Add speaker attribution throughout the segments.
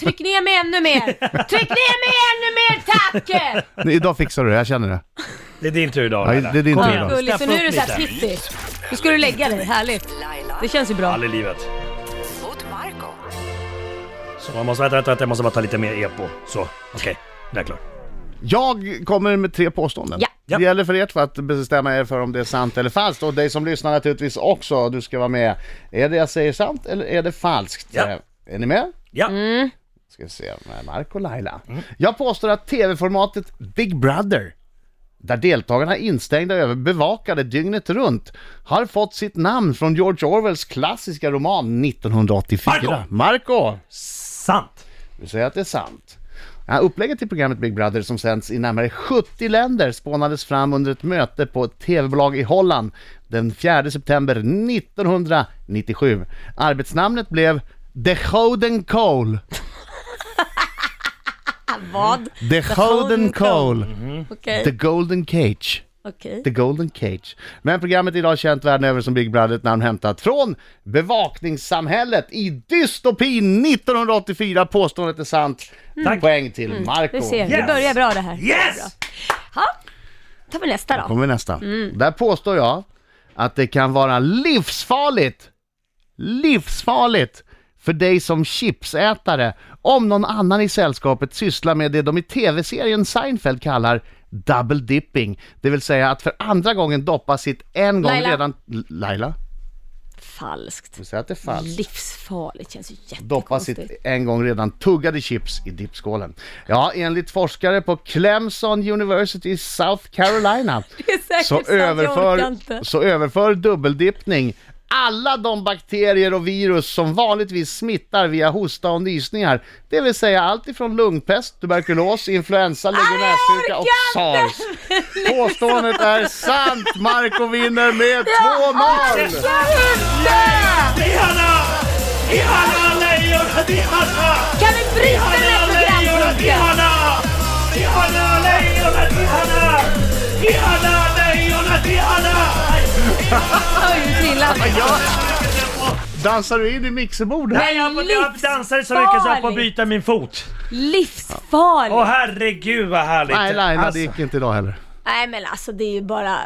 Speaker 1: Tryck ner mig ännu mer! Tryck ner mig ännu mer, tack!
Speaker 2: Idag fixar du det, jag känner det.
Speaker 3: Det är din tur idag.
Speaker 2: Ja,
Speaker 3: Laila.
Speaker 2: det är din
Speaker 3: Kom
Speaker 2: tur
Speaker 3: igen,
Speaker 1: Ja,
Speaker 2: idag.
Speaker 1: gulligt.
Speaker 3: steppa
Speaker 1: Så nu
Speaker 3: upp
Speaker 1: är du
Speaker 3: lite.
Speaker 1: såhär flippig. Nu ska du lägga dig, härligt.
Speaker 4: Laila
Speaker 1: Det känns ju bra.
Speaker 3: Aldrig i livet.
Speaker 4: mot Marco
Speaker 3: Så man måste, vänta, vänta, vänta, jag måste bara ta lite mer epo. Så, okej. Det är klart.
Speaker 2: Jag kommer med tre påståenden.
Speaker 1: Ja.
Speaker 3: Ja.
Speaker 2: Det gäller för er två att bestämma er för om det är sant eller falskt och dig som lyssnar naturligtvis också, du ska vara med. Är det jag säger sant eller är det falskt?
Speaker 3: Ja.
Speaker 2: Eh, Är ni med?
Speaker 3: Ja.
Speaker 1: Mm.
Speaker 2: Ska vi se, med Marco och Laila. Jag påstår att tv-formatet Big Brother, där deltagarna är instängda och överbevakade dygnet runt, har fått sitt namn från George Orwells klassiska roman 1984.
Speaker 3: Marco!
Speaker 2: Marco!
Speaker 3: Sant.
Speaker 2: Du säger att det är sant. Ja, upplägget till programmet Big Brother som sänds i närmare 70 länder spånades fram under ett möte på ett tv-bolag i Holland den 4 september 1997. Arbetsnamnet blev The Hoden Cole.
Speaker 1: Vad?
Speaker 2: The
Speaker 1: Golden
Speaker 2: Hoden
Speaker 1: Mm-hmm.
Speaker 2: Cole.
Speaker 1: Okej,
Speaker 2: The Golden Cage.
Speaker 1: okej.
Speaker 2: The Golden Cage. Men programmet är idag känt världen över som Big Brother, ett namn hämtat från bevakningssamhället i dystopin 1984. Påståendet är sant. Poäng till Marco.
Speaker 1: Du ser, Mm. det
Speaker 3: Yes!
Speaker 1: börjar bra det här.
Speaker 3: Yes!
Speaker 1: Ja, tar vi nästa då.
Speaker 2: kommer vi nästa. Där påstår jag att det kan vara livsfarligt, livsfarligt för dig som chipsätare om någon annan i sällskapet sysslar med det de i tv-serien Seinfeld kallar double dipping, det vill säga att för andra gången doppa sitt en gång
Speaker 1: Laila.
Speaker 2: redan... Laila?
Speaker 1: Falskt.
Speaker 2: Du säger att det är falskt.
Speaker 1: Livsfarligt, känns ju
Speaker 2: Doppa sitt
Speaker 1: jättekonstigt.
Speaker 2: en gång redan tuggade chips i dippskålen. Ja, enligt forskare på Clemson University i South Carolina
Speaker 1: Det är säkert
Speaker 2: så
Speaker 1: sant, jag orkar
Speaker 2: överför,
Speaker 1: inte.
Speaker 2: så överför dubbeldippning alla de bakterier och virus som vanligtvis smittar via hosta och nysningar. Det vill säga allt ifrån lungpest, tuberkulos, influensa, legionärsjuka och
Speaker 1: orkar
Speaker 2: sars. Påståendet är sant! Marco vinner med 2-0!
Speaker 3: Diana! Diana Leijona! Diana!
Speaker 1: Kan vi bryta den här programpunkten?
Speaker 3: Diana! Diana Leijona! Diana! Diana Leijona! Diana!
Speaker 1: Oj, vi trillar.
Speaker 2: Dansar du in i mixerbordet?
Speaker 3: Nej, jag, jag dansade så mycket så jag höll på att byta min fot. Åh
Speaker 1: Livsfarligt!
Speaker 3: herregud vad härligt!
Speaker 2: Nej, Laila,
Speaker 3: Alltså,
Speaker 2: det gick inte idag heller.
Speaker 1: Nej men alltså det är ju bara...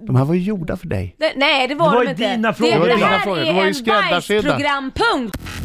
Speaker 2: De här var ju gjorda för dig.
Speaker 1: Nej det var,
Speaker 3: Det var
Speaker 1: de
Speaker 3: ju
Speaker 1: inte.
Speaker 3: dina frågor.
Speaker 2: Det var
Speaker 1: Det
Speaker 2: dina
Speaker 1: här
Speaker 2: frågor.
Speaker 1: är
Speaker 2: De var ju
Speaker 1: en
Speaker 2: skräddarsydda.
Speaker 1: bajsprogrampunkt.